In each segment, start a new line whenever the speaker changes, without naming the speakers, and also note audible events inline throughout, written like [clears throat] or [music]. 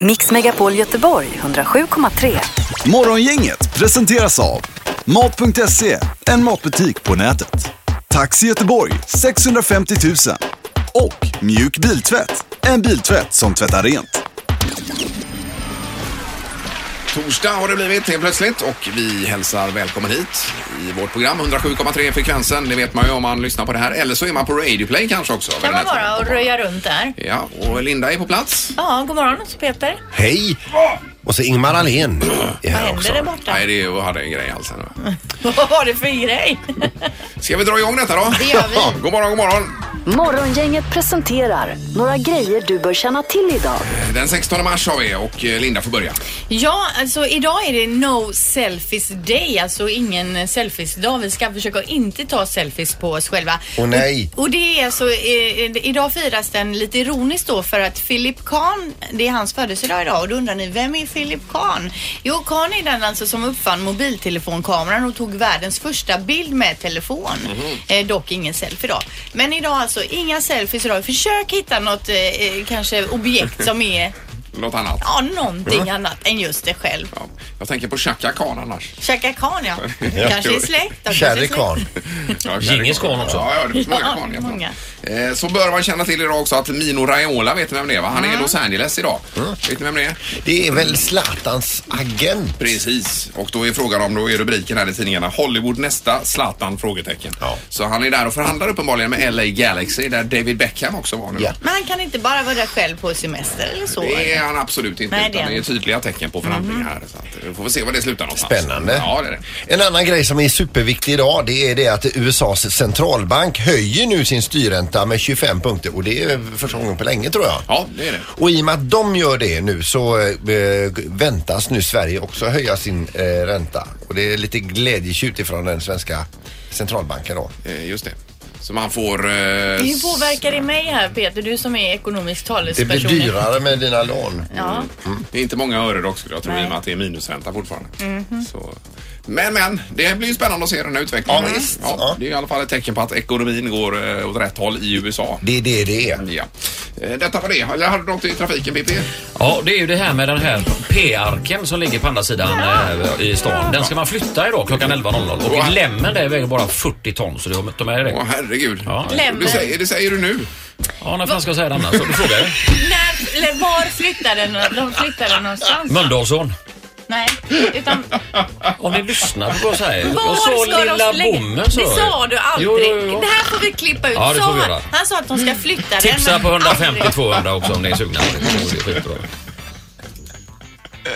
Mix Megapol Göteborg 107,3.
Morgongänget presenteras av Mat.se, en matbutik på nätet. Taxi Göteborg 650 000. Och Mjuk Biltvätt, en biltvätt som tvättar rent.
Torsdag har det blivit helt plötsligt och vi hälsar välkommen hit i vårt program 107,3 frekvensen. Det vet man ju om man lyssnar på det här. Eller så är man på Radio Play kanske också.
kan
Vid
man
den här
vara och röja runt där.
tiden. Ja, och Linda är på plats.
Ja, god morgon Peter.
Hej! Och så Ingmar Ahlén är
Vad
här
händer
också.
där borta?
Nej, det är ju hade en grej alls. här.
[laughs] Vad var det för grej?
Ska vi dra igång detta då?
Det gör vi.
Ja, God morgon, god morgon.
Morgongänget presenterar några grejer du bör känna till idag.
[laughs] Den 16 mars har vi och eh, Linda får börja.
Ja, alltså idag är det No Selfies Day, alltså ingen selfies-dag. Vi ska försöka inte ta selfies på oss själva.
Åh, nej.
Och, och det är alltså, eh, idag firas den lite ironiskt då för att Philip Kahn, det är hans födelsedag idag och då undrar ni, vem är Philip Kahn? Jo, Kahn är den alltså som uppfann mobiltelefonkameran och tog världens första bild med telefon.
Mhm.
Eh, dock ingen selfie då. Men idag alltså, inga selfies idag. Försök hitta något, eh, eh, kanske objekt som är
Något annat.
Ja, någonting annat än just det själv.
Ja, jag tänker på Chaka Khan annars.
Chaka Khan ja. Kanske är släkt. de kanske är
Kärre
släkt.
Karn.
[laughs] Ja,
Djingis Khan också.
Ja, ja, det finns många
Ja,
Khan. heter
många.
de. Eh, Så bör man känna till idag också att Mino Raiola, vet ni vem det är? Va? Han är i Los Angeles idag. Vet ni vem det är?
Mm. Det är väl Zlatans agent?
Precis, och då är frågan om, då är rubriken här i tidningarna, Hollywood nästa, Zlatan? Frågetecken.
Ja.
Så han är där och förhandlar uppenbarligen med LA Galaxy där David Beckham också var nu.
Ja.
Men han kan inte bara vara där själv på semester eller så.
Det är han absolut inte,
Nej, det är
utan det är
han. Mhm.
tydliga tecken på förhandlingar. här. Så att, eh, vi får vi se var det slutar någonstans.
Spännande.
Ja, det är det.
En annan grej som är superviktig idag det är det att USAs centralbank höjer nu sin styrränta med 25 punkter och det är första gången på länge tror jag.
Ja, det är det.
Och i och med att de gör det nu så eh, väntas nu Sverige också höja sin eh, ränta. Och det är lite glädjetjut ifrån den svenska centralbanken då.
Eh, Just det. Så man får... eh,
Hur påverkar det mig här Peter, du som är ekonomisk
Det
talesperson?
blir dyrare med dina lån.
Ja.
Mm. Det är inte många öre dock skulle jag tro i och
Nej.
med att det är minusränta fortfarande. Så. Men men, det blir ju spännande att se den här utvecklingen.
Ja, visst.
Ja,
Ja.
det är i alla fall ett tecken på att ekonomin går eh, åt rätt håll i USA.
Det är det det är.
Ja. Eh, Detta var det. Eller hade du något i trafiken Pippi?
Ja, det är ju det här med den här P-arken som ligger på andra sidan eh, i stan. Den ska man flytta idag klockan 11.00 och lämmen där väger bara 40 ton så du har inte med dig
Åh
det.
herregud.
Ja.
Det,
Lämmen.
säger, det säger du nu.
Ja, när fan ska jag säga det annars? Så Du frågar
[laughs]
ju.
När, eller var flyttar den? De flyttar den någonstans?
Mölndalsson.
Nej, utan
Om ni lyssnar på vad jag säger.
var
Jag sa
ska
lilla
de slänga?
bommen sa
Det
jag ju.
sa du aldrig.
Jo, jo, jo.
Det här får vi klippa ut.
Ja, det får vi
Sa han-
göra.
han sa att de ska flytta den.
Tipsa
men
på
aldrig.
150-200 också om ni är sugna. Det är skitbra.
[laughs] Eh,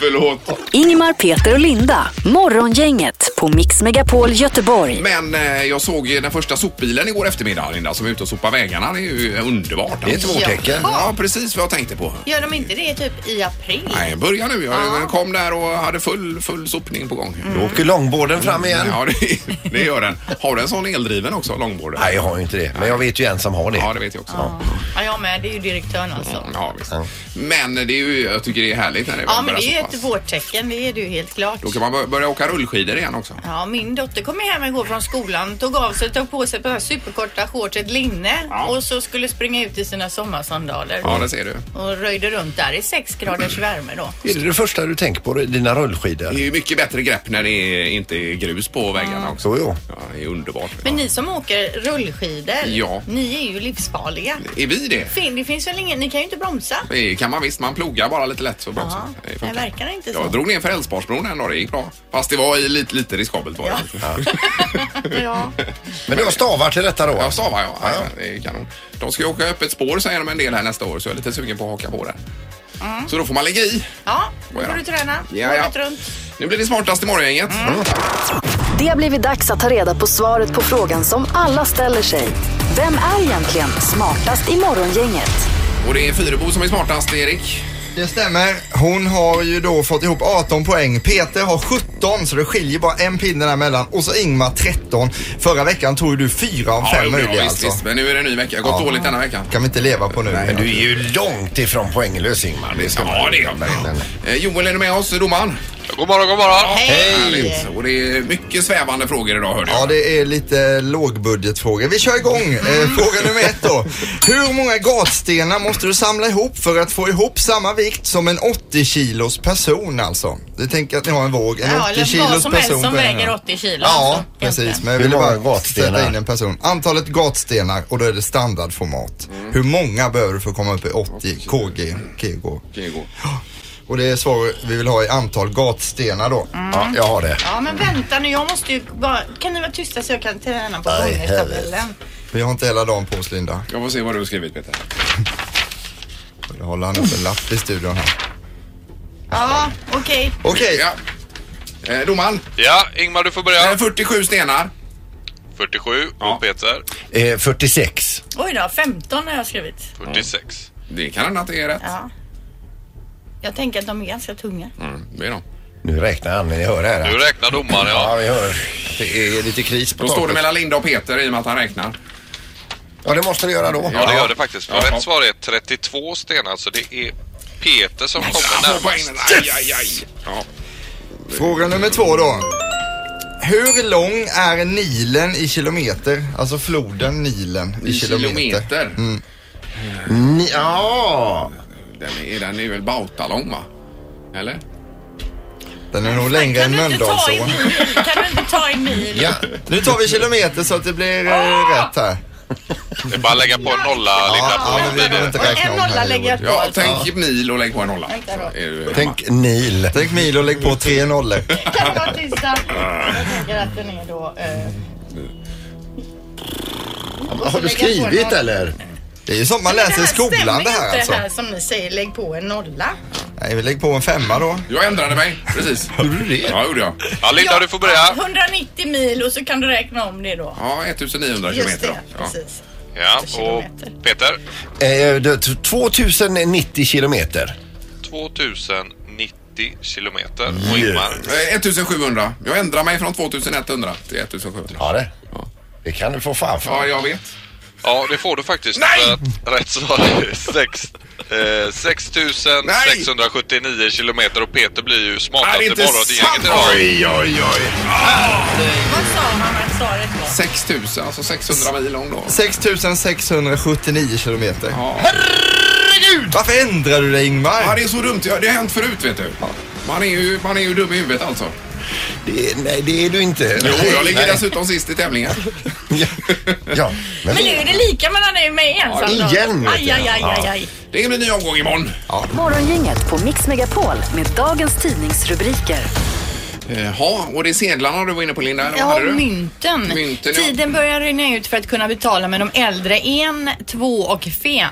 Förlåt.
Ingmar, Peter och Linda. Morgongänget på Mix Megapol Göteborg.
Men eh, jag såg ju den första sopbilen igår eftermiddag Linda som är ute och sopar vägarna. Det är ju underbart.
Det är ett vårtecken.
Ja, precis vad jag tänkte på.
Gör de inte det typ i april?
Nej, börja nu. Jag kom där och hade full, full sopning på gång.
Mm.
Mm.
Då åker långborden fram igen.
Ja, det, det gör den. Har du en sån eldriven också, långborden?
Nej, jag har ju inte det. Men jag vet ju en som har det.
Ja, det vet jag också. Ja.
Ja, jag med. Det är ju direktören alltså.
visst. Men det är ju, jag tycker det är härligt när det
Ja,
börjar
men det är ju
så pass.
ett vårtecken. Det är det ju helt klart.
Då kan man bör- börja åka rullskidor igen också.
Ja, min dotter kom ju hem igår från skolan, tog av sig, tog på sig ett par superkorta shorts, ett linne
Ja.
och så skulle springa ut i sina sommarsandaler
Ja, det ser du.
och röjde runt där i sex graders värme då.
Är det det första du tänker på? Dina
Det
rullskidor?
är ju mycket bättre grepp när det är, inte är grus på väggarna också.
Så ja.
Ja, det är underbart.
Men ni som åker rullskidor,
Ja.
ni är ju livsfarliga.
Är vi det?
Fin, det finns väl ingen, ni kan ju inte bromsa.
Det kan man visst. Man plogar bara lite lätt så bra.
Ja,
så.
det
funkar.
verkar inte
Jag
så.
drog ner för Älvsborgsbron en dag. Det gick bra. Fast det var i lite, lite riskabelt. Var det.
Ja.
Men du har stavar till detta då?
Ja, stavar ja. ja, ja. Det är kanon. De ska ju åka öppet spår säger de en del här nästa år så jag är lite sugen på att haka på det. Så då får man lägga i.
ja, nu
Mm. Ja.
får du träna
Ja, ja.
året runt. Mm.
Nu blir det smartast i morgongänget.
Det har blivit dags att ta reda på svaret på frågan som alla ställer sig. Vem är egentligen smartast i morgongänget?
Och det är Fyrebo som är smartast, Erik.
Det stämmer. Hon har ju då fått ihop 18 poäng. Peter har 17 så det skiljer bara en pinne däremellan. Och så Ingmar 13. Förra veckan tog ju du fyra av fem
jo,
möjliga
visst,
alltså.
visst. Men nu är det en ny vecka. Gått
Ja.
dåligt denna veckan.
kan vi inte leva på nu.
Men du är ju långt ifrån poänglös Ingmar.
Ja, det är jag.
Men-
Eh, Joel, är du med oss, domaren?
God morgon, god morgon.
Härligt. Och det är mycket svävande frågor idag hörde jag.
Ja, det är lite lågbudgetfrågor. Vi kör igång. Eh,
Mm.
fråga nummer ett då. Hur många gatstenar måste du samla ihop för att få ihop samma vikt som en 80 kilos person alltså? Du tänker att ni har en våg, en
Ja,
80
eller vad
kilos
som helst
person.
som
på en-
väger 80 kilo.
Ja,
alltså.
precis.
Egentligen.
Men jag
Hur
ville
många
bara
gatstenar?
ställa in en person. Antalet gatstenar och då är det standardformat.
Mm.
Hur många behöver du för att komma upp i 80 kg? kg?
Diego.
Och det är svar vi vill ha i antal gatstenar då.
Mm.
Ja, jag har det.
Ja, men vänta nu. Jag måste ju bara... Kan ni vara tysta så jag kan träna på
Nej,
ångesttabellen?
Vi har inte hela dagen på oss Linda.
Jag får se vad du har skrivit
[laughs]
Peter.
Jag håller han upp en lapp i studion här.
Ja, okej.
Okej,
Ja. Eh, domaren,
Ja, Ingmar du får
eh,
börja.
47 stenar.
47
Ja.
och Peter
Eh, 46.
Oj då, 15 har jag skrivit.
46.
Det kan hända att det är rätt.
Ja. Jag tänker att de är ganska tunga.
Mm, det är de.
Nu räknar han, ni hör det här.
Nu räknar domaren
Ja,
ja.
vi hör. Det är lite kris på
Då står det
taket.
mellan Linda och Peter i och med att han räknar.
Ja, det måste vi göra då.
Ja det gör det faktiskt. För
Ja.
rätt svar är 32 stenar så det är Peter som kommer
Ja,
närmast.
poängen. Aj, aj, aj. Ja.
fråga nummer två då. Hur lång är Nilen i kilometer? Alltså floden Nilen i,
I kilometer.
Mm.
Mm.
Ni, ja.
Den, är, den är väl bautalång va? Eller?
Den är nog längre än
Kan du, inte ta i
Mölndalsån.
mil? kan du inte ta i mil?
ja.
Nu tar vi kilometer så att det blir eh, rätt här.
Det är bara att lägga på en nolla Linda
Ja, men
på.
vi behöver inte räkna
en
om här.
nolla
i
lägger jag
Hollywood.
på.
Ja,
alltså.
tänk mil och lägg på en nolla.
Tänk där då.
Är du hemma?
Tänk Nil.
Tänk mil och lägg på tre nollor.
Kan du vara tysta? Jag tänker att den är då... Eh,
Har du skrivit eller?
Det är ju sånt man
Men
läser i skolan det här
stämmer
alltså.
inte här som ni säger, lägg på en nolla.
Nej, vi lägger på en femma då.
Jag ändrade mig,
[laughs]
precis. Gjorde du det? Ja, gjorde jag.
Ja Linda du får börja.
190 mil och så kan du räkna om det då.
Ja, 1900
Just
kilometer.
det,
då. Ja.
precis.
Ja och
kilometer.
Peter.
Eh, det- t- 2090 kilometer.
2090 kilometer. Och Ingmar.
Eh, 1700. Jag ändrar mig från 2100 till 1700.
Ja, det. Det kan du få fan
Ja,
för.
jag vet.
Ja det får du faktiskt.
Nej!
För att rätt svar är 6. Eh, 6679 kilometer och Peter blir ju
Nej, det är
smartaste
inte
morgongänget
sant.
idag.
Oj, oj, oj.
Vad sa han att svaret var?
6000, alltså 600 mil lång då.
6679 kilometer.
Ja.
Varför ändrar du dig
Ja,
Ingmar?
det är så dumt. Ja, Det har hänt förut, vet du. Man är ju, man är ju dum i huvudet alltså.
Det, nej, det är du inte.
Jo, jag ligger
Nej.
dessutom sist i tävlingen.
Ja. ja, men
Men nu är det lika mellan dig och mig
Ja,
ensam då.
igen, vet
Aj,
jag.
aj, aj, aj, aj.
Det är en ny omgång imorgon.
Morgongänget på Mix Megapol med dagens tidningsrubriker.
Jaha, Eh, och det är sedlarna du var inne på Linda, eller vad
Ja,
hade du?
mynten.
Mynten, ja.
Tiden börjar rinna ut för att kunna betala med de äldre en, två och fe,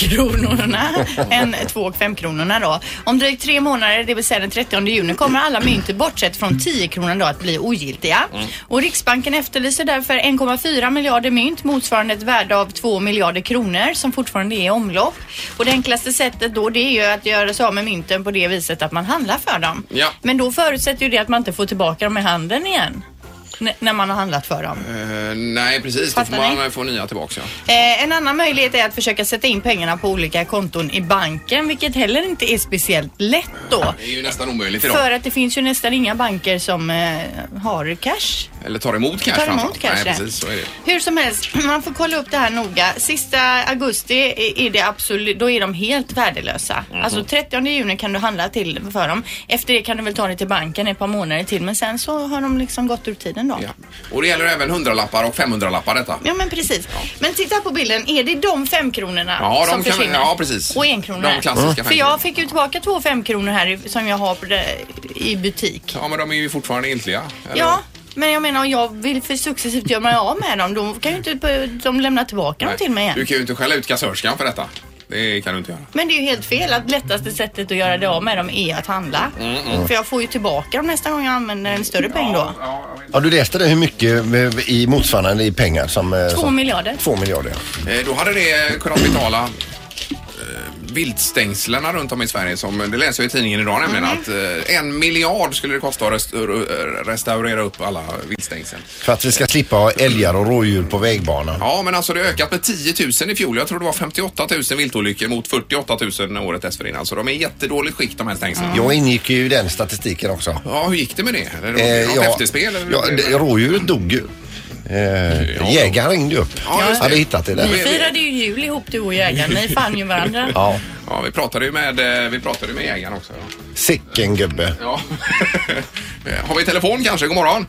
femkronorna. en, två och femkronorna då. Om drygt tre månader, det vill säga den 30 juni, kommer alla mynt bortsett från 10 kronan då att bli ogiltiga.
Mm.
Och Riksbanken efterlyser därför 1,4 miljarder mynt motsvarande ett värde av 2 miljarder kronor som fortfarande är i omlopp. Och det enklaste sättet då det är ju att göra sig av med mynten på det viset att man handlar för dem.
Ja.
Men då förutsätter ju det att man inte får tillbaka dem i handen igen. N- när man har handlat för dem.
Eh, nej, precis. Då får
Fattar
man
ni?
eh, få nya tillbaka. Ja.
Eh, en annan möjlighet är att försöka sätta in pengarna på olika konton i banken, vilket heller inte är speciellt lätt då.
Det är ju nästan omöjligt idag.
För att det finns ju nästan inga banker som eh, har cash.
Eller tar emot cash
Tar emot
framförallt.
cash,
Nej,
det.
precis. Så är det.
Hur som helst, [clears throat] man får kolla upp det här noga. Sista augusti är- är det absolut, då är de helt värdelösa. Alltså 30 juni kan du handla till för dem. Efter det kan du väl ta det till banken ett par månader till men sen så har de liksom gått ur tiden då.
Ja. Och det gäller även 100-lappar och 500-lappar detta.
Ja men precis. Men titta på bilden, är det de fem kronorna
Ja, de
som
kan-
försvinner?
ja, precis.
Och en krona.
De klassiska
För
femkronorna.
jag fick ju tillbaka två fem kronor här i- som jag har på det, i butik.
Ja, men de är ju fortfarande giltiga. eller?
Ja, men jag menar om jag vill för successivt göra mig av med dem, då kan ju inte på- de lämna tillbaka dem
Nej,
till mig igen.
Du kan ju inte skälla ut kassörskan för detta. Det kan du inte göra.
Men det är ju helt fel att lättaste sättet att göra det av med dem är att handla.
Mm,
För jag får ju tillbaka dem nästa gång jag använder en större peng då.
Ja, du läste det hur mycket eh, i motsvarande i pengar som... eh,
Två
som-
miljarder.
Två miljarder, ja.
Eh, Då hade det kunnat betala eh, viltstängslarna runt om i Sverige som, eh, det läser vi i tidningen idag nämligen,
Mm.
att eh, en miljard skulle det kosta att rest, r- restaurera upp alla viltstängsel.
För att vi ska slippa ha älgar och rådjur på vägbanan.
Ja, men alltså det har ökat med 10 000 i fjol. Jag tror det var 58 000 viltolyckor mot 48 000 året dessförinnan. Så de är i jättedåligt skick de här stängslen.
Jag ingick ju i den statistiken också.
Ja, hur gick det med det? Eller var det
Eh,
något
ja,
efterspel? Eller?
ja, det- rådjuret dog ju. Eh, jägaren ringde ju upp.
Ja, just det.
Hade hittat det
Vi
där.
firade ju jul ihop du och jägaren. Ni fann ju varandra.
Ja,
ja, vi pratade ju med, eh, vi pratade med jägaren också. ja.
sicken gubbe.
Ja. Eh, har vi telefon kanske? God morgon.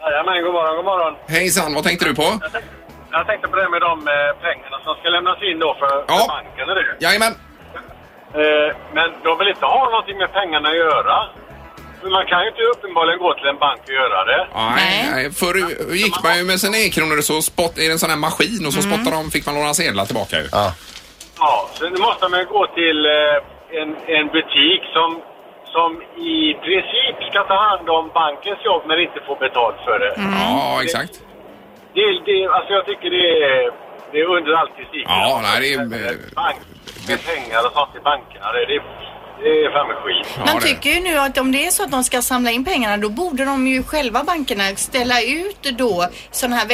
Jajamän, god morgon, god morgon.
Hejsan, vad tänkte du på?
Jag tänkte på det med de eh, pengarna som ska lämnas in då för,
Ja.
för banken och det.
Jajamän.
Eh, men de vill inte ha någonting med pengarna att göra. Men man kan ju inte uppenbarligen gå till en bank och göra det.
Nej,
Nej.
nej. Förr gick man ju med sina e-kronor så spott, i en sån här maskin och så
Mm.
spottade de, fick man några sedlar tillbaka ju.
Ja.
Ja, så nu måste man ju gå till eh, en, en butik som, som i princip ska ta hand om bankens jobb men inte får betalt för det.
Mm. Ja, exakt.
det, det alltså jag tycker det är, det är under all kritik.
Ja, nej, det är- eh,
Bank, med pengar och sånt till bankerna, det, det, det är fan med skit.
Ja,
Man
det-
tycker ju nu att om det är så att de ska samla in pengarna då borde de ju själva bankerna ställa ut då sådana här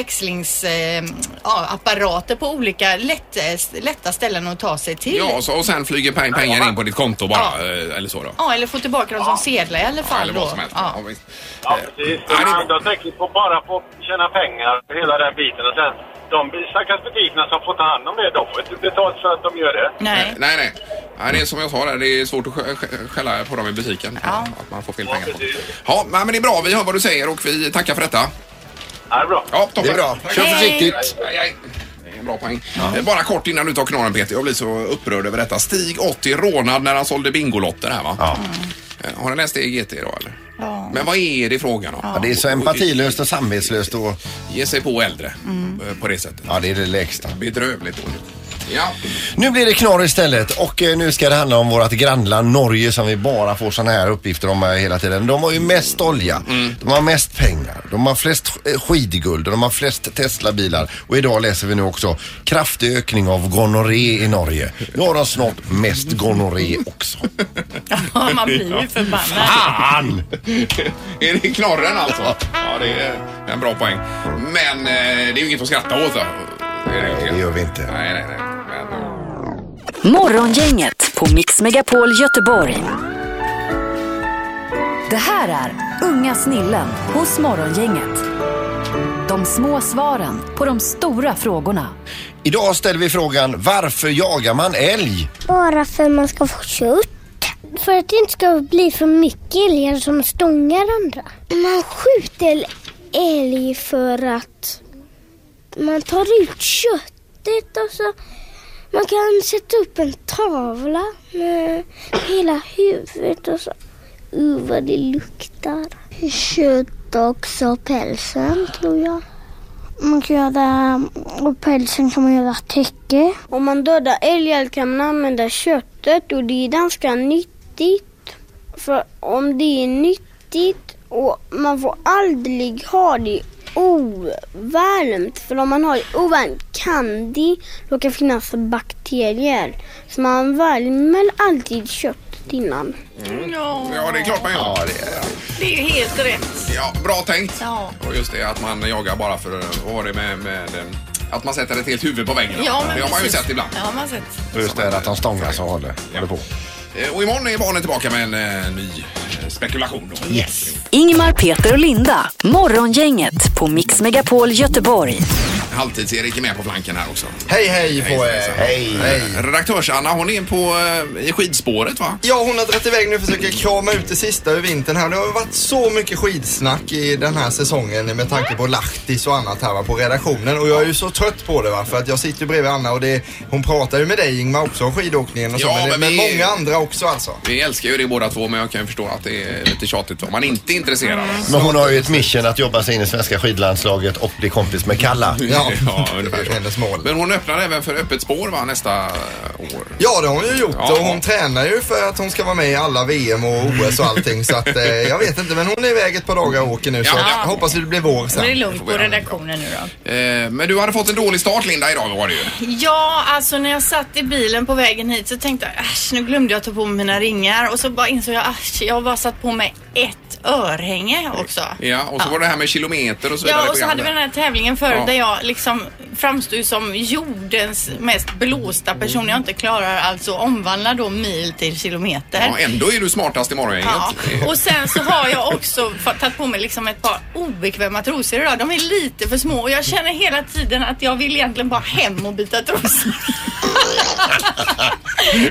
växlingsapparater eh, ja, apparater på olika lätt, eh, lätta ställen att ta sig till.
Ja, och så, och sen flyger peng- pengar in på ditt konto bara.
Ja.
eh, Eller så då.
Ja, eller få tillbaka dem som sedlar i alla fall
eller vad
då.
som helst.
Ja.
Ja, visst.
Ja,
Eh,
precis.
nej, det är
De
bra.
andra tänker på bara på att tjäna pengar och hela den biten. Och sen de stackars butikerna som får ta hand om det, de får inte betalt för att de gör det.
Nej.
Nej, nej. nej. Det är som jag sa där, det är svårt att sk- sk- skälla på dem i butiken. Att man får fel pengar. På. dem. Ja, nej, men det är bra. Vi hör vad du säger och vi tackar för detta.
Ja, det är bra.
Ja, toppen.
Det är bra. Kör
Hej.
försiktigt.
Aj, aj. Det är en bra poäng. Eh, Bara kort innan du tar knorren Peter, jag blir så upprörd över detta. Stig 80 rånad när han sålde Bingolotter här va?
Ja.
Eh, Har ni läst det i GT idag eller? Men vad är det frågan om?
Ja, det är så empatilöst och samvetslöst och
Ge sig på äldre
Mm.
eh, på det sättet.
ja, det är det lägsta.
Bedrövligt dåligt. Ja,
Nu blir det knorr istället och eh, nu ska det handla om vårt grannland Norge som vi bara får sådana här uppgifter om eh, hela tiden. De har ju mest olja, de har mest pengar, de har flest eh, skidguld och de har flest Teslabilar. Och idag läser vi nu också kraftig ökning av gonorré i Norge. Nu har de snart mest gonorré också.
[laughs] Ja, man blir ju förbannad.
[laughs] Fan!
är det knorren alltså? Ja, det är en bra poäng. Men eh, det är ju inget att skratta åt. va? Det är
Nej, det gör vi inte.
Nej, nej, nej. Men, eh,
Morgongänget på Mix Megapol Göteborg. Det här är Unga snillen hos Morgongänget. De små svaren på de stora frågorna.
Idag ställer vi frågan varför jagar man älg?
Bara för man ska få kött. För att det inte ska bli för mycket älgar som stångar andra. Man skjuter älg för att man tar ut köttet och så man kan sätta upp en tavla med hela huvudet och så. Uh, vad det luktar. Kött också pälsen tror jag. Man kan göra, och pälsen kan man göra täcke. Om man dödar älgar kan man använda köttet och det är ganska nyttigt. För om det är nyttigt och man får aldrig ha det ovärmt. För om man har det ovärmt kan det råka finnas bakterier. Så man värmer alltid köttet innan.
Mm.
Ja, det är klart man gör. Ja,
Det är ju helt rätt.
bra tänkt.
Ja.
Och just det att man jagar bara för vad var det med, med eh, att man sätter ett helt huvud på väggen.
Ja, men
det har man ju
precis.
sett ibland.
Det har man sett.
Just det här att de stångar så håller, håller på.
Eh, Och imorgon är barnen tillbaka med en eh, ny eh, spekulation. Då.
Yes.
Ingmar, Peter och Linda. Morgongänget på Mix Megapol Göteborg.
Halvtids-Erik är med på flanken här också.
Hej hej på er!
Hej.
Eh, Redaktörs-Anna, hon är på eh, i skidspåret va?
Ja, hon har dragit iväg nu och försöker krama ut det sista ur vintern här. Det har ju varit så mycket skidsnack i den här säsongen med tanke på Lahtis och annat här va, på redaktionen. Och jag är ju så trött på det va, för att jag sitter ju bredvid Anna och det, hon pratar ju med dig Ingmar också om skidåkningen och så.
Ja,
men, det-
men
men
vi-
många andra också alltså.
Vi älskar ju det båda två men jag kan ju förstå att det är lite tjatigt om man
Mm.
inte är intresserad.
Men hon har ju ett mission att jobba sig in i svenska skidlandslaget och bli kompis med Kalla.
Ja, Ja.
Ja, ungefär så.
Hennes mål.
Men hon öppnar även för öppet spår va, nästa eh, år.
Ja, det har hon ju gjort
Ja.
och hon tränar ju för att hon ska vara med i alla VM och OS och allting. så att, eh, jag vet inte, men hon är iväg ett par dagar och åker nu så
Ja.
jag hoppas det blir vår
Nu är det
sen.
lugnt på redaktionen nu då.
Eh, Men du hade fått en dålig start Linda idag var det ju.
Ja, alltså när jag satt i bilen på vägen hit så tänkte jag äsch, nu glömde jag ta på mig mina ringar och så bara insåg jag äsch, jag har bara satt på mig ett örhänge också.
Ja, och så var det här med kilometer och så vidare.
Ja,
i
och så hade vi
programmet.
den här tävlingen förut
Ja.
där jag liksom framstod som jordens mest blåsta person jag inte klarar, alltså omvandla då mil till kilometer.
Ja, ändå är du smartast i morgongänget.
Ja, [laughs]
Eh,
och sen så har jag också fa- tagit på mig liksom ett par obekväma trosor idag. De är lite för små och jag känner hela tiden att jag vill egentligen bara hem och byta trosor. [laughs]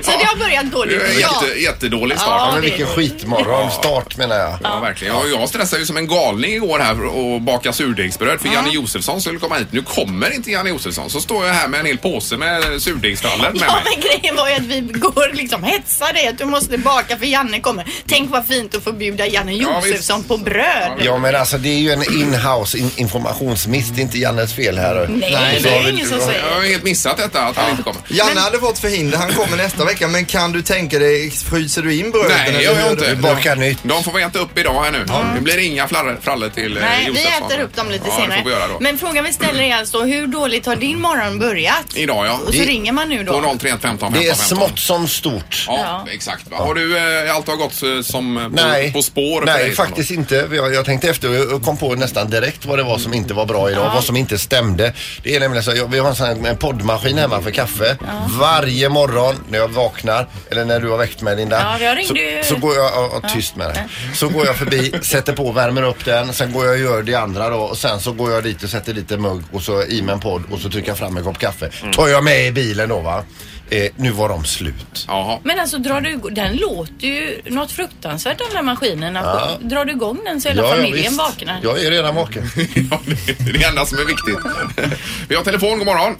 så det har börjat gå
Det är
lite bra.
jätte, jättedålig
Ja,
start.
men vilken skitmorgon. Start menar jag.
Ja, verkligen. Ja, jag stressade ju som en galning igår här och bakade surdegsbröd för Janne Josefsson skulle komma hit. Nu kommer inte Janne Josefsson. Så står jag här med en hel påse med surdegsrallen med
Ja
mig.
men grejen var ju att vi går liksom hetsade att du måste baka för Janne kommer. Tänk vad fint att få bjuda Janne
Ja, visst.
Josefsson på bröd.
Ja men alltså det är ju en in-house in informationsmiss. Det är inte Jannes fel här.
Nej, det är ingen som säger.
Jag har helt missat detta att han inte kommer.
Janne hade fått förhinder, han kommer nästa vecka. Men kan du tänka dig, fryser du in bröden?
Nej, det
eller
gör
hur?
jag inte.
bakar nytt.
De får vi äta upp idag här nu. Det blir inga flarre- frallor till eh,
Nej, vi
Josefsson.
äter upp dem lite
ja,
senare.
Det får vi göra då.
Men frågan vi ställer är alltså hur dåligt har din morgon börjat?
Idag ja.
Och så ringer man nu då.
På 031 15
Det är
15.
smått som stort.
Ja, exakt. Va? Har du eh, allt har gått eh, som eh, på,
Nej,
på spår? för
nej
dig,
faktiskt inte. Jag, jag tänkte efter och kom på nästan direkt vad det var som inte var bra idag. Vad som inte stämde. Det är nämligen så jag, vi har en sån här en poddmaskin hemma för kaffe. Varje morgon när jag vaknar, eller när du har väckt mig Linda.
Ja, jag ringde
så,
ju-
så går jag, ja, ja, tyst med dig. Så går jag förbi, sätter på, värmer upp den. Sen går jag och gör det andra då. Och sen så går jag dit och sätter dit en mugg och så i med en podd och så trycker jag fram en kopp kaffe.
Mm.
Tar jag med i bilen då va. Eh, nu var de slut.
Jaha.
Men alltså drar du igång- den låter ju något fruktansvärt den där maskinen. Att Drar du igång den så hela familjen
visst.
vaknar.
Jag är redan vaken.
[laughs] Ja, det är det enda som är viktigt. [laughs] Vi har telefon, god morgon.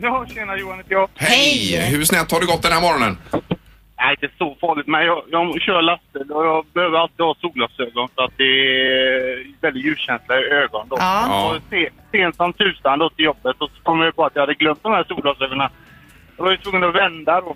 Ja, tjena Johan heter jag.
Hej! Hur snett har det gått den här morgonen?
Nej, inte så farligt, men jag, jag kör lastbil och jag behöver alltid ha solglasögon så att det är väldigt ljuskänsliga ögon då.
Ja.
Och se- sent som tusan då till jobbet och så kom jag på att jag hade glömt de här solglasögonen. Jag var ju tvungen att vända då.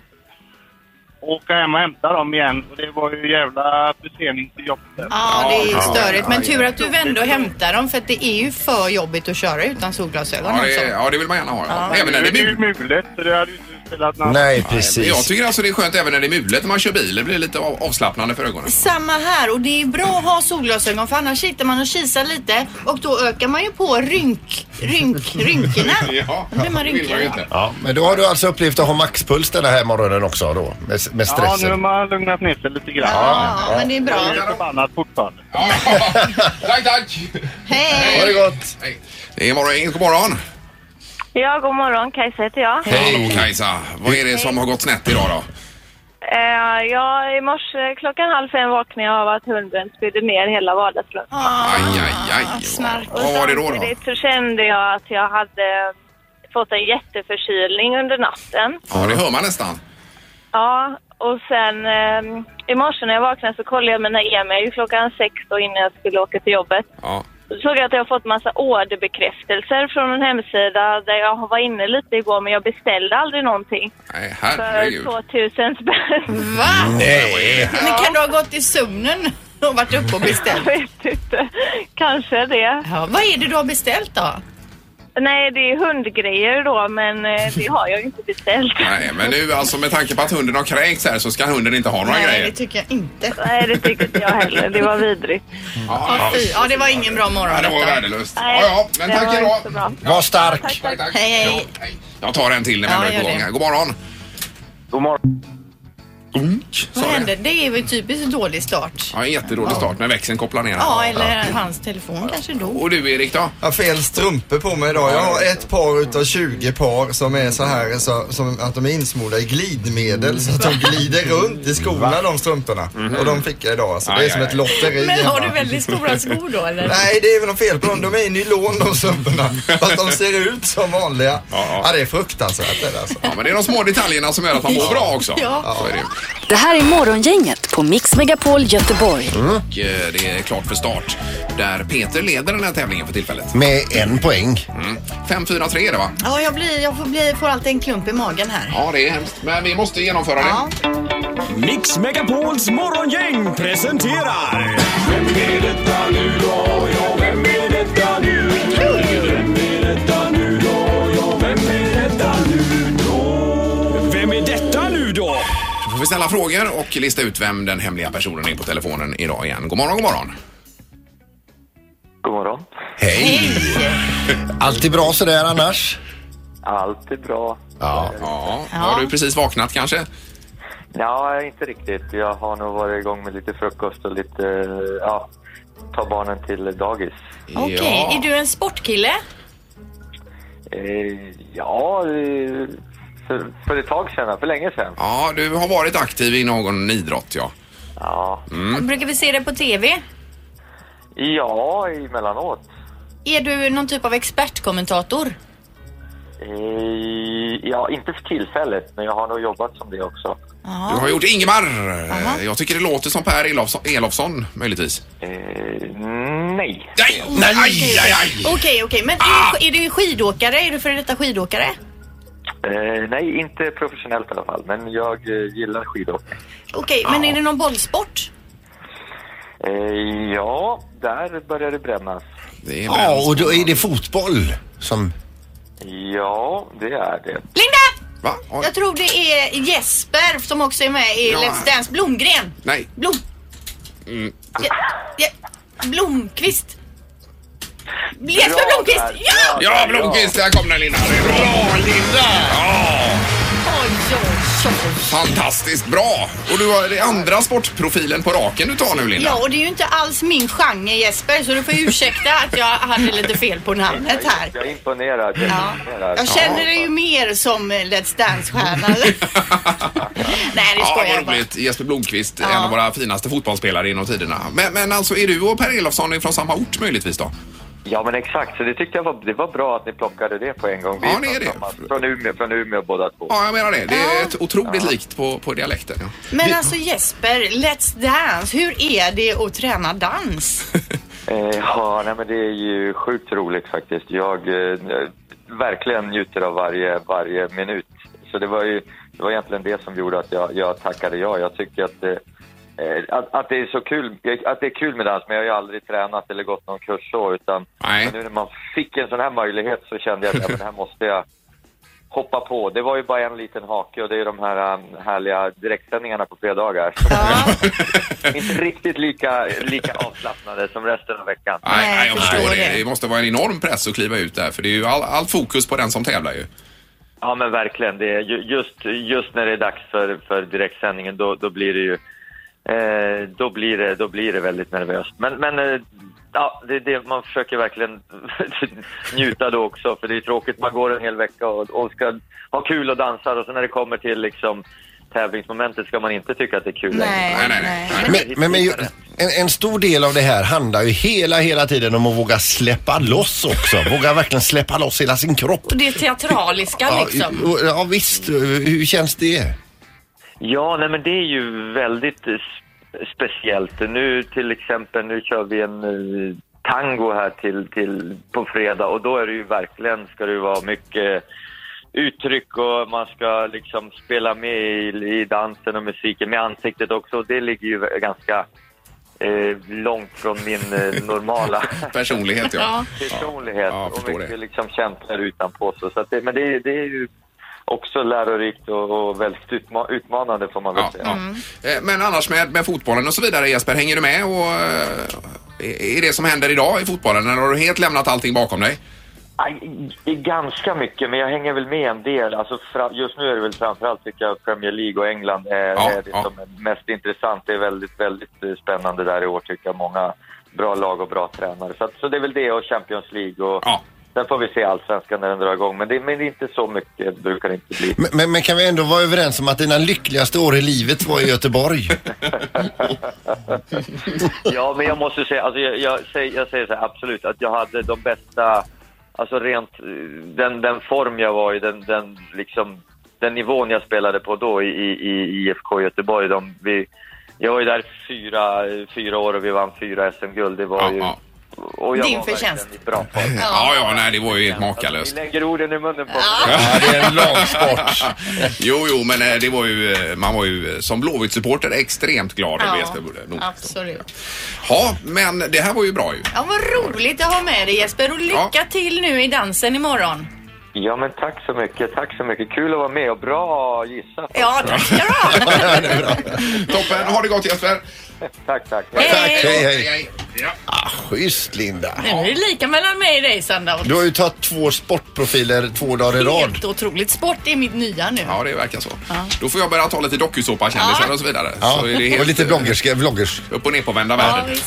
Och åka hem och hämta dem igen och det var ju jävla försening till jobbet.
Ja,
Ja,
det är
ja,
störigt.
ja,
Men
ja.
tur att du vände och hämtade dem för att det är ju för jobbigt att köra utan solglasögon
Ja, det,
alltså.
ja, det vill man gärna ha. Ja. Även när det
Men
är
det är ju
mulet.
mulet så det hade ju inte spelat någon
Nej,
Men Jag
precis.
tycker alltså det är skönt även när det är mulet när man kör bil. Det blir lite av- avslappnande för ögonen.
Samma här och det är bra att ha solglasögon för annars sitter man och kisar lite och då ökar man ju på rynk, rynk, rynkorna.
[laughs] Ja,
Då blir man
det vill man ju
rynkig.
inte.
Ja, men då har du alltså upplevt att ha maxpuls den här morgonen också då? Med, med
Ja, nu har
stressen?
man lugnat ner sig lite grann.
Ja, men det är
Jag är
bra.
ju förbannad fortfarande.
Ja, tack, tack!
Hej!
Ha det gott!
Hej. Det är morgon, Inget, god morgon.
Ja, god morgon. Kajsa heter jag.
Hallå Kajsa, vad är det som har gått snett idag då?
Eh, ja, i morse klockan halv fem vaknade jag av att hunden spydde ner hela vardagsrummet.
Ah. Aj, aj, aj.
snark.
Vad var det då? då?
Samtidigt så kände jag att jag hade fått en jätteförkylning under natten.
Ja, det hör man nästan.
Ja, och sen eh, i morse när jag vaknade så kollade jag mina e-mail klockan sex då innan jag skulle åka till jobbet.
Ja.
Då såg jag att jag har fått massa orderbekräftelser från en hemsida där jag var inne lite igår men jag beställde aldrig någonting.
Nej,
För
herregud.
2000 spänn.
Va?
Nej!
Men kan du ha gått i sömnen och varit uppe
Jag
och beställt?
vet inte. Kanske det.
Ja, vad är det du har beställt då?
Nej, det är hundgrejer då, men eh, det har jag ju inte beställt.
Nej, men nu alltså med tanke på att hunden har kräkts här så ska hunden inte ha några
Nej, det
grejer.
tycker jag inte.
Nej, det tycker inte jag heller. Det var vidrigt.
Ja, fy. ja, det var ingen bra morgon
Ja, det var
detta.
värdelöst.
Nej,
Ja, ja, men
det
tack
var
idag.
inte så bra.
Var stark!
Tack, tack.
Hej, hej.
Ja, hej. Jag tar en till när
Ja,
vi är
gör
på gång
det.
här. God morgon.
God morgon.
Vad
Sorry.
hände? Det är väl typiskt dålig start.
Ja, en jättedålig start när växeln kopplar ner.
Ja, eller hans telefon kanske då.
Och du Erik då?
Jag har fel strumpor på mig idag. Jag har ett par utav 20 par som är så här så, som att de är insmorda i glidmedel så att de glider runt i skorna de strumporna. Och de fick jag idag. Så det är
Mhm. Aj,
som
aj,
ett
aj.
lotteri.
Men har
hemma.
du
[laughs]
väldigt stora skor då eller?
Nej, det är väl något fel på dem. De är i nylon de strumporna. Fast de ser ut som vanliga.
Ja, ja.
Ja, det är fruktansvärt det där alltså.
Ja, men det är de små detaljerna som gör att man mår bra också.
Ja.
Så är det. ju.
Det här är Morgongänget på Mix Megapol Göteborg.
Och eh, det är klart för start. Där Peter leder den här tävlingen för tillfället.
Med en poäng.
Mm. 5-4-3 är det va?
Ja, jag, blir, jag får, bli, får alltid en klump i magen här.
Ja, det är hemskt. Men vi måste genomföra det.
Mix Megapols morgongäng presenterar... Vem är detta nu då? Ja, vem är detta nu? Vem är detta nu då? Ja, vem är detta nu då? Vem är detta nu då?
Då får vi ställa frågor och lista ut vem den hemliga personen är på telefonen idag igen. God morgon, god morgon.
God morgon.
Hej! Alltid bra sådär annars?
Allt är bra.
Ja. ja. Har du precis vaknat kanske?
Ja, inte riktigt. Jag har nog varit igång med lite frukost och lite, ja, ta barnen till dagis.
Okej, är du en sportkille?
Eh, ja, eh, för, för ett tag sedan, för länge sedan.
Ja, du har varit aktiv i någon idrott ja. Mm.
Ja.
Brukar vi se det på TV?
Ja, emellanåt.
Är du någon typ av expertkommentator?
Eh, ja, inte för tillfället, men jag har nog jobbat som det också.
Du har gjort Ingemar. Eh, Jag tycker det låter som Per Elofsson, Elofsson möjligtvis.
nej.
Nej, nej, aj, aj, aj.
Okej, okej. Men är,
Ah!
du, är du skidåkare? Är du före detta skidåkare?
Eh, nej, inte professionellt i alla fall, men jag eh, gillar skidåkning.
Okej, men är det någon bollsport?
Eh, ja, där börjar det brännas.
Ja, och då är det fotboll som...
Ja, det är det.
Linda!
Va?
Jag tror det är Jesper som också är med i
Ja.
Let's Dance. Blomgren.
Nej.
Blom...
Mm.
Ja, ja, Blomqvist. Jesper Blomqvist! Ja!
Ja, Blomqvist, där kom den Linda. Det är Bra Linda! Ja. Fantastiskt bra! Och du har det andra sportprofilen på raken du tar nu Linda.
Ja, och det är ju inte alls min genre Jesper, så du får ursäkta att jag hade lite fel på namnet här.
Jag är imponerad. Jag, är imponerad.
Jag känner dig ju mer som Let's Dance-stjärna.
Mm.
Nej, det
Ja,
skojar jag
vad
bara.
roligt. Jesper Blomqvist,
Ja.
en av våra finaste fotbollsspelare genom tiderna. Men, men alltså, är du och Per Elofsson från samma ort möjligtvis då?
Ja, men exakt. Så det tyckte jag var, det var bra att ni plockade det på en gång. Vi
Ja,
är
det är
från samma- Från Umeå, från Umeå båda två.
Ja, jag menar det. Det är ett otroligt likt på, på dialekten. Ja.
Men alltså Jesper, Let's Dance, hur är det att
[laughs]
träna dans?
Eh, ja, nej, men det är ju sjukt roligt faktiskt. Jag eh, verkligen njuter av varje, varje minut. Så det var ju det var egentligen det som gjorde att jag, jag tackade ja. Jag tycker att, eh, eh, att, att det är så kul, att det är kul med dans, men jag har ju aldrig tränat eller gått någon kurs så, utan men nu när man fick en sån här möjlighet så kände jag att ja, men här måste jag hoppa på. Det var ju bara en liten hake och det är de här um, härliga direktsändningarna på fredagar. Inte riktigt lika, lika avslappnade som resten av veckan.
Nej, nej, jag förstår det. Det måste vara en enorm press att kliva ut där, för det är ju all, all fokus på den som tävlar ju.
Ja, men verkligen. Det är ju- just, just när det är dags för, för direktsändningen, då, då blir det ju... Eh, då, blir det, då blir det väldigt nervöst. Men, men eh, ja, det är det man försöker verkligen [laughs] njuta då också, för det är tråkigt. Man går en hel vecka och, och ska ha kul och dansa och sen när det kommer till liksom tävlingsmomentet ska man inte tycka att det är kul längre.
Nej,
nej,
Men, men, men ju- en, en stor del av det här handlar ju hela, hela tiden om att våga släppa loss också. Våga verkligen släppa loss hela sin kropp.
Och det teatraliska
Ja,
liksom.
och- ja visst, hur känns det?
Ja, nej men det är ju väldigt eh, s- speciellt. Nu till exempel, nu kör vi en eh, tango här till, till, på fredag och då är det ju verkligen, ska det ju vara mycket uttryck och man ska liksom spela med i, i dansen och musiken med ansiktet också. Och Det ligger ju ganska eh, långt från min eh, normala
[laughs] Personlighet, ja.
[laughs] personlighet och
förstår
mycket liksom känslor utanpå sig. Så att det, men det, det är ju också lärorikt och, och väldigt utma- utmanande får man väl säga.
Eh, Men annars med, med fotbollen och så vidare, Jesper, hänger du med? Och, eh, är är det som händer idag i fotbollen, eller har du helt lämnat allting bakom dig?
Aj, i- i ganska mycket, men jag hänger väl med en del. Alltså, fra, just nu är det väl framförallt tycker jag Premier League och England är, är det som är mest intressant. Det är väldigt, väldigt eh, spännande där i år tycker jag. Många bra lag och bra tränare. Så, att, så det är väl det och Champions League och sen får vi se allsvenskan när den drar igång. Men det, men det är inte så mycket, brukar det inte bli.
Men, men, men kan vi ändå vara överens om att dina lyckligaste år i livet var i
[laughs]
Göteborg?
ja, men jag måste säga, alltså, jag, jag, säger, jag säger så här, absolut, att jag hade de bästa, alltså rent, eh, den, den form jag var i, den, den liksom den nivån jag spelade på då i, i, i IFK Göteborg, de, vi, jag var ju där fyra, fyra år och vi vann fyra SM-guld. Det var ju... Och jag
Din
var
förtjänst.
verkligen i bra form.
Ja, ja, nej, det var ju helt
Ni
makalöst.
lägger orden i munnen på mig.
Ja, det är en lång sport. [laughs] jo, jo, men eh, det var ju, eh, man var ju eh, som Blåvitt-supporter extremt glad över Jesper Bulle. Nog.
absolut.
Ja, men det här var ju bra ju.
Ja, vad roligt att ha med dig Jesper och lycka till nu i dansen imorgon.
Ja, men tack så mycket. Tack så mycket. Kul att vara med och bra gissat.
Ja, tack ska du ha.
Toppen, ha det gott Jesper.
Tack, tack.
Hej. Tack, hej, hej.
Ah, schysst Linda.
Nu är det lika mellan mig och dig Sandra.
Du har ju tagit två sportprofiler två dagar i rad.
Helt otroligt. Sport är mitt nya nu.
Ja, det verkar så. Då får jag börja ta lite dokusåpakändisar och så vidare.
Ja,
Så
och lite
bloggerska, vloggers. eh, Upp och ner på vända världen.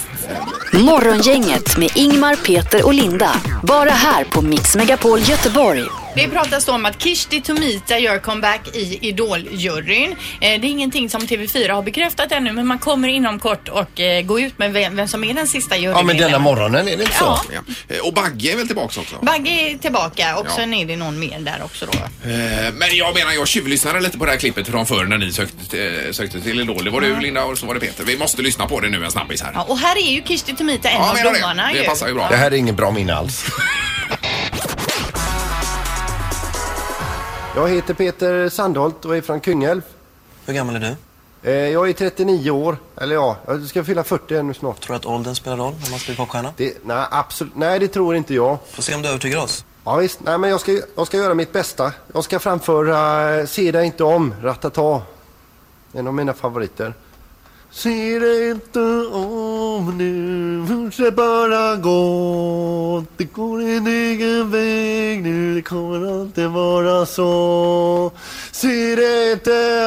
Morgongänget med Ingmar, Peter och Linda. Bara här på Mix Megapol Göteborg.
Det pratas då om att Kishti Tomita gör comeback i Idol-juryn. Eh, Det är ingenting som TV4 har bekräftat ännu men man kommer inom kort och eh, gå ut med vem, vem som är den sista juryn.
morgonen är det
inte så? Ja.
Eh, Och Bagge är väl tillbaka också?
Bagge är tillbaka och
Ja.
sen är det någon mer där också då.
Eh, Men jag menar, jag tjuvlyssnade lite på det här klippet från förr när ni sökte, eh, sökte till Idol. Det var du Linda och så var det Peter. Vi måste lyssna på det nu en snabbis här.
Ja, och här är ju Kishti Tomita en av
menar det.
domarna
Det
ju.
passar ju bra.
Det här är ingen bra minne alls.
[laughs] Jag heter Peter Sandholt och är från Kungälv. Hur gammal är du? Jag är 39 år, eller ja, jag ska fylla 40 här nu snart. Tror du att åldern spelar roll när man ska bli popstjärna? Det, nej, absolut, nej det tror inte jag. Får se om du övertygar oss. Ja, visst, nej men jag ska, jag ska göra mitt bästa. Jag ska framföra eh, Se dig inte om, Ratata. En av mina favoriter.
Se dig inte om nu, fortsätt bara gå. Det går din egen väg nu, det kommer alltid vara så. Se dig inte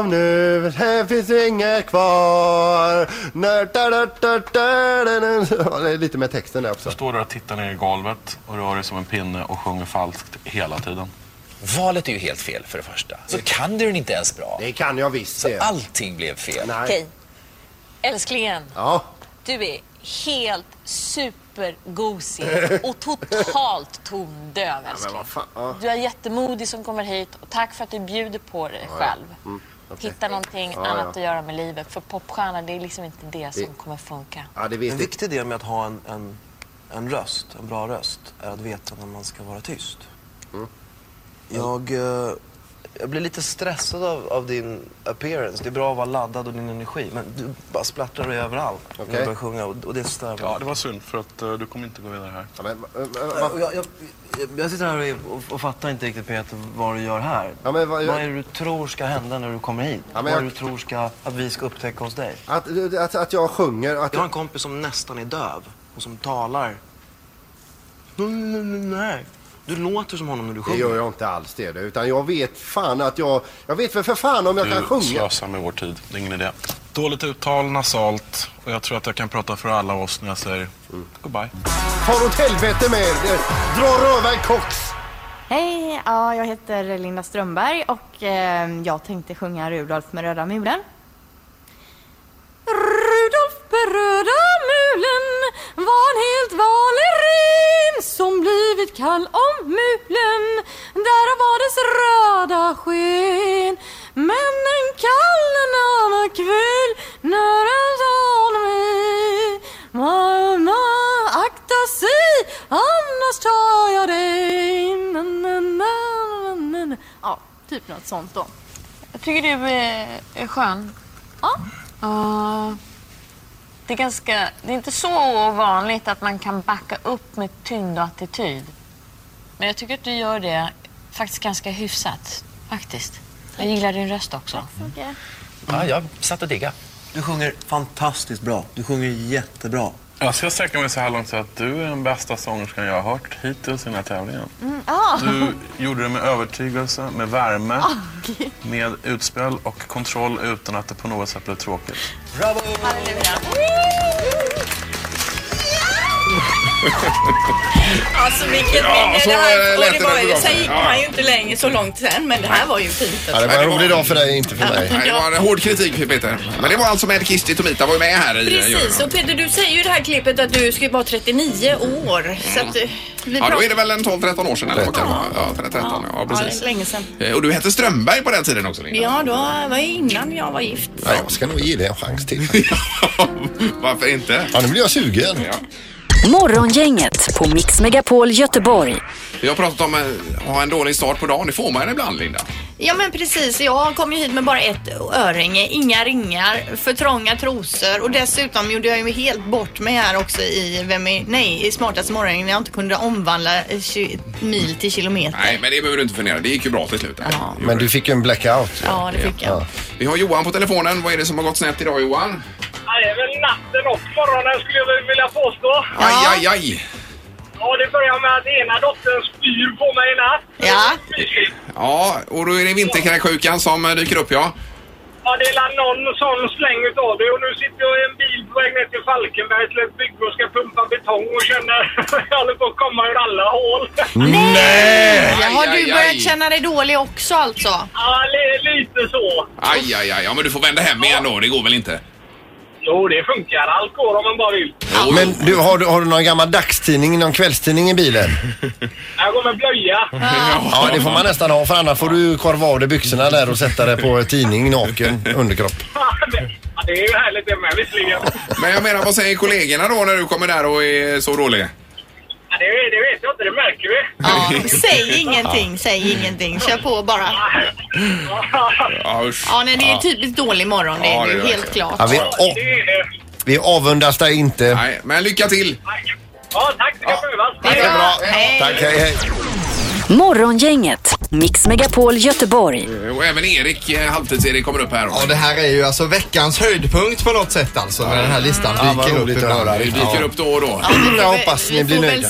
om nu, här finns inget kvar. När da, da, da, da, da, da. Ja, det är Lite med texten där också.
Står där och tittar ner i golvet och rör dig som en pinne och sjunger falskt hela tiden.
Valet är ju helt fel för det första. Så kan du den inte ens bra. Det kan jag visst. Så allting blev fel.
Okej. Älsklingen,
Ja.
du är helt supergosig och totalt tondöv älskling. Du är jättemodig som kommer hit och tack för att du bjuder på dig själv.
Mm, okej.
Hitta någonting
Ja,
annat
ja.
att göra med livet. För popstjärna, det är liksom inte det som
Det-
kommer funka.
Ja, det vet
En viktig del med att ha en, en, en röst, en bra röst, är att veta när man ska vara tyst.
Mm.
Jag, eh, jag blir lite stressad av, av din appearance. Det är bra att vara laddad och din energi, men du bara splattrar dig överallt när
Okej.
du börjar sjunga och, och det stör mig.
Ja, det var synd för att eh, du kommer inte gå vidare här.
Och Jag, jag, jag, jag sitter här och, och, och fattar inte riktigt Peter vad du gör här. vad,
jag-
är det du tror ska hända när du kommer hit?
Ja, men
vad är det
jag-
du tror ska, att vi ska upptäcka hos dig?
Att, att, att jag sjunger, att
Jag har en kompis som nästan är döv och som talar. Nej, nej, nej, nej. Du låter som honom när du
Det
sjunger.
gör jag inte alls det, utan jag vet fan att jag... Jag vet väl för fan om jag kan
Du
sjunga.
slösar med vår tid. Det är ingen idé. Dåligt uttal, nasalt och jag tror att jag kan prata för alla oss när jag säger goodbye.
Mm. Far åt helvete med er! Dra rövaren koks!
Hej, ja, jag heter Linda Strömberg och eh, jag tänkte sjunga Rudolf med röda mulen.
Rudolf med röda mulen var en helt vanlig ren som blivit kall om mulen. Därav var dess röda sken. Men en kall kväll när han sa mig Mamma, akta sig annars tar jag dig. Na, na, na, na, na. Ja, typ något sånt då.
Jag tycker du är, är skön.
Ja.
Ja. det, är ganska, det är inte så vanligt att man kan backa upp med tyngd och attityd. Men jag tycker att du gör det faktiskt ganska hyfsat. Faktiskt. Jag gillar din röst också.
Ja, jag satt och digga. Du sjunger fantastiskt bra. Du sjunger jättebra.
Jag ska sträcka mig så här långt så att du är den bästa sångerskan jag har hört hittills i den här tävlingen.
Mm, ah.
Du gjorde det med övertygelse, med värme,
Ah, gud.
med utspel och kontroll utan att det på något sätt blev tråkigt.
Bravo! Halleluja!
Alltså vilket
Ja,
minne
så
det här
lät
och det
det
var
när
ju,
du
Sen
var-
gick
Ja.
man ju inte längre så långt sen men det här var ju fint.
Ja, det var en rolig dag för dig, inte för mig.
Nej, det var en hård kritik Peter. Men det var alltså med Kirsti Tomita var ju med här i eh,
Precis, och Peter du säger ju i det här klippet att du ska vara 39 år. Så att eh,
Ja,
vi
då
pratar-
är det väl en 12-13 år sedan eller vad kan det vara? Ja, 13, ja, ja
Ja, det
precis.
är länge sedan.
Eh, Och du hette Strömberg på den tiden också Linda?
Ja, då var det innan jag var gift.
Ja, jag ska nog ge det en
[laughs]
chans till.
Varför inte?
Ja, nu blir jag sugen.
Morgongänget på Mix Megapol Göteborg.
Vi har pratat om att ha en dålig start på dagen. Det får man ibland Linda.
Ja men precis, jag kom ju hit med bara ett örhänge, inga ringar, för trånga trosor och dessutom gjorde jag ju helt bort mig här också i, vem är, nej, i smartaste morgonen när jag inte kunde omvandla eh, tju- mil till kilometer.
Nej, men det behöver du inte fundera. Det gick ju bra till slut. Ja.
Men du fick ju en blackout.
Ja, det fick jag.
Vi har Johan på telefonen. Vad är det som har gått snett idag Johan?
Ja, det är väl natten och morgonen skulle jag väl vilja påstå.
Aj, aj, aj.
Ja, det börjar med att ena dottern spyr på mig i natt.
Ja.
Ja, och då är det vinterkräksjukan som eh, dyker upp ja.
Ja, det är la någon sån släng utav det och nu sitter jag i en bil på väg ner till Falkenberg till ett bygge och ska pumpa betong och känner [laughs] jag håller på att komma ur alla hål.
Nej!
har du börjat känna dig dålig också alltså?
Ja, li- lite så.
Aj, aj, aj. Ja, men du får vända hem igen då. Det går väl inte?
Jo, det funkar. Allt går om man bara vill.
Men du, har, du, har du någon gammal dagstidning, någon kvällstidning i bilen?
Jag går med blöja.
Ja, det får man nästan ha för annars får du korva av dig byxorna där och sätta dig på tidning naken underkropp.
[laughs] Ja, det är ju härligt det med visserligen.
Men jag menar, vad säger kollegorna då när du kommer där och är så dålig?
Ja, det, det vet jag inte, det märker vi.
Ja, Säg ingenting, säg ingenting. Kör på bara.
Ja, usch.
Ja, nej, det är typ- typiskt dålig morgon. Det
Ja,
är
det är
ju
det
helt
verkligen.
klart.
Ja, vi, å, vi avundas dig inte.
Nej, men lycka till!
Ja, tack. Det kan behövas.
Det
är bra. Tack, hej, hej.
Morgongänget, Mix Megapol Göteborg.
Och även Erik, eh, halvtids-Erik, kommer upp här.
Ja, det här är ju alltså veckans höjdpunkt på något sätt alltså. När den här listan
Ja, vad
dyker upp
roligt att höra. Det dyker upp då och då.
Jag
hoppas ni blir nöjda.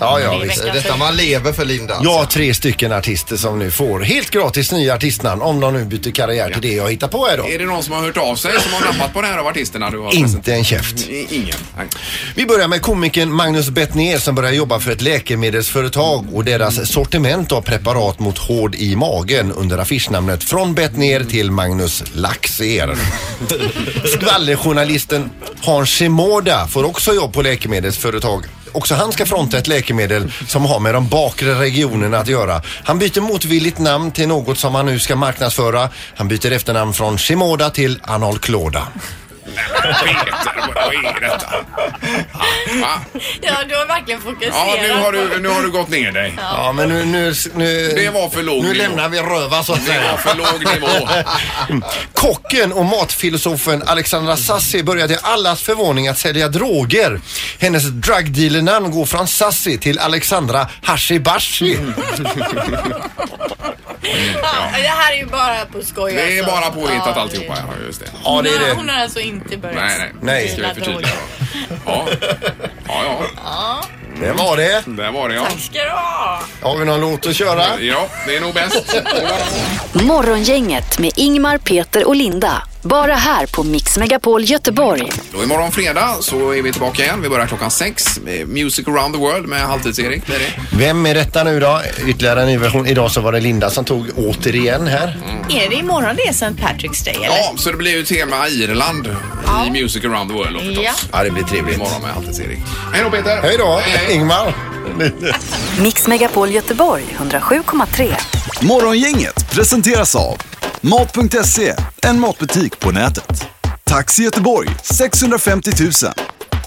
Ja, ja, visst.
Detta man lever för Linda.
Jag har tre stycken artister som nu får helt gratis nya artistnamn om de nu byter karriär till det jag hittar på här då.
Är det någon som har hört av sig som har nappat på det här av artisterna du har
Inte en käft.
I- Ingen. Nej.
Vi börjar med komikern Magnus Bettner som börjar jobba för ett läkemedelsföretag och deras sortiment av preparat mot hård i magen under affischnamnet Från Bettner till Magnus Laxer. Skvallerjournalisten Hans Shimoda får också jobb på läkemedelsföretag. Också han ska fronta ett läkemedel som har med de bakre regionerna att göra. Han byter motvilligt namn till något som han nu ska marknadsföra. Han byter efternamn från Shimoda till Analkloda.
Peter, vad är detta? Va?
Ja, du har verkligen fokuserat.
Ja, nu har, du, nu har du gått ner dig.
Ja, men nu... nu, nu
Det var för låg
Nu
nivå.
lämnar vi röva så att
Det var
säga.
för låg nivå.
[laughs] Kocken och matfilosofen Alexandra Sassi börjar till allas förvåning att sälja droger. Hennes drugdealer-namn går från Sassi till Alexandra
[laughs]
Hashibashi.
Ja, det här är ju bara på skoj
Det är
alltså.
bara påhittat
Ja,
alltihopa. Ja, just det.
Ja, det är
Hon har-
det.
Hon har alltså inte börjat.
Nej, nej.
Nej.
Ska vi förtydliga då. Ja. Ja, ja.
Det var det.
Där var det ja.
Har vi någon låt att köra?
Ja, det är nog bäst.
Morgongänget med Ingmar, Peter och Linda. Bara här på Mix Megapol Göteborg.
Då imorgon fredag så är vi tillbaka igen. Vi börjar klockan sex. Eh, Music around the world med Halvtids-Erik blir det.
Vem är detta nu då? Ytterligare en ny version. Idag så var det Linda som tog återigen här.
Är det imorgon det är St. Patrick's Day eller?
Ja, så det blir ju tema Irland
Ja.
i Music around the world. då förstås.
Ja.
Ja, det blir trevligt.
Imorgon med Halvtids-Erik. Hej då Peter!
Hej då, Ingmar.
Mix Megapol Göteborg 107,3.
Morgongänget presenteras av Mat.se, en matbutik på nätet. Taxi Göteborg 650 000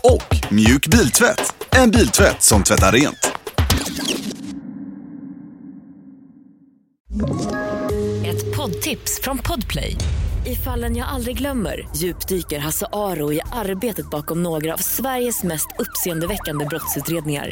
och Mjuk Biltvätt, en biltvätt som tvättar rent.
Ett poddtips från Podplay. I fallen jag aldrig glömmer djupdyker Hasse Aro i arbetet bakom några av Sveriges mest uppseendeväckande brottsutredningar.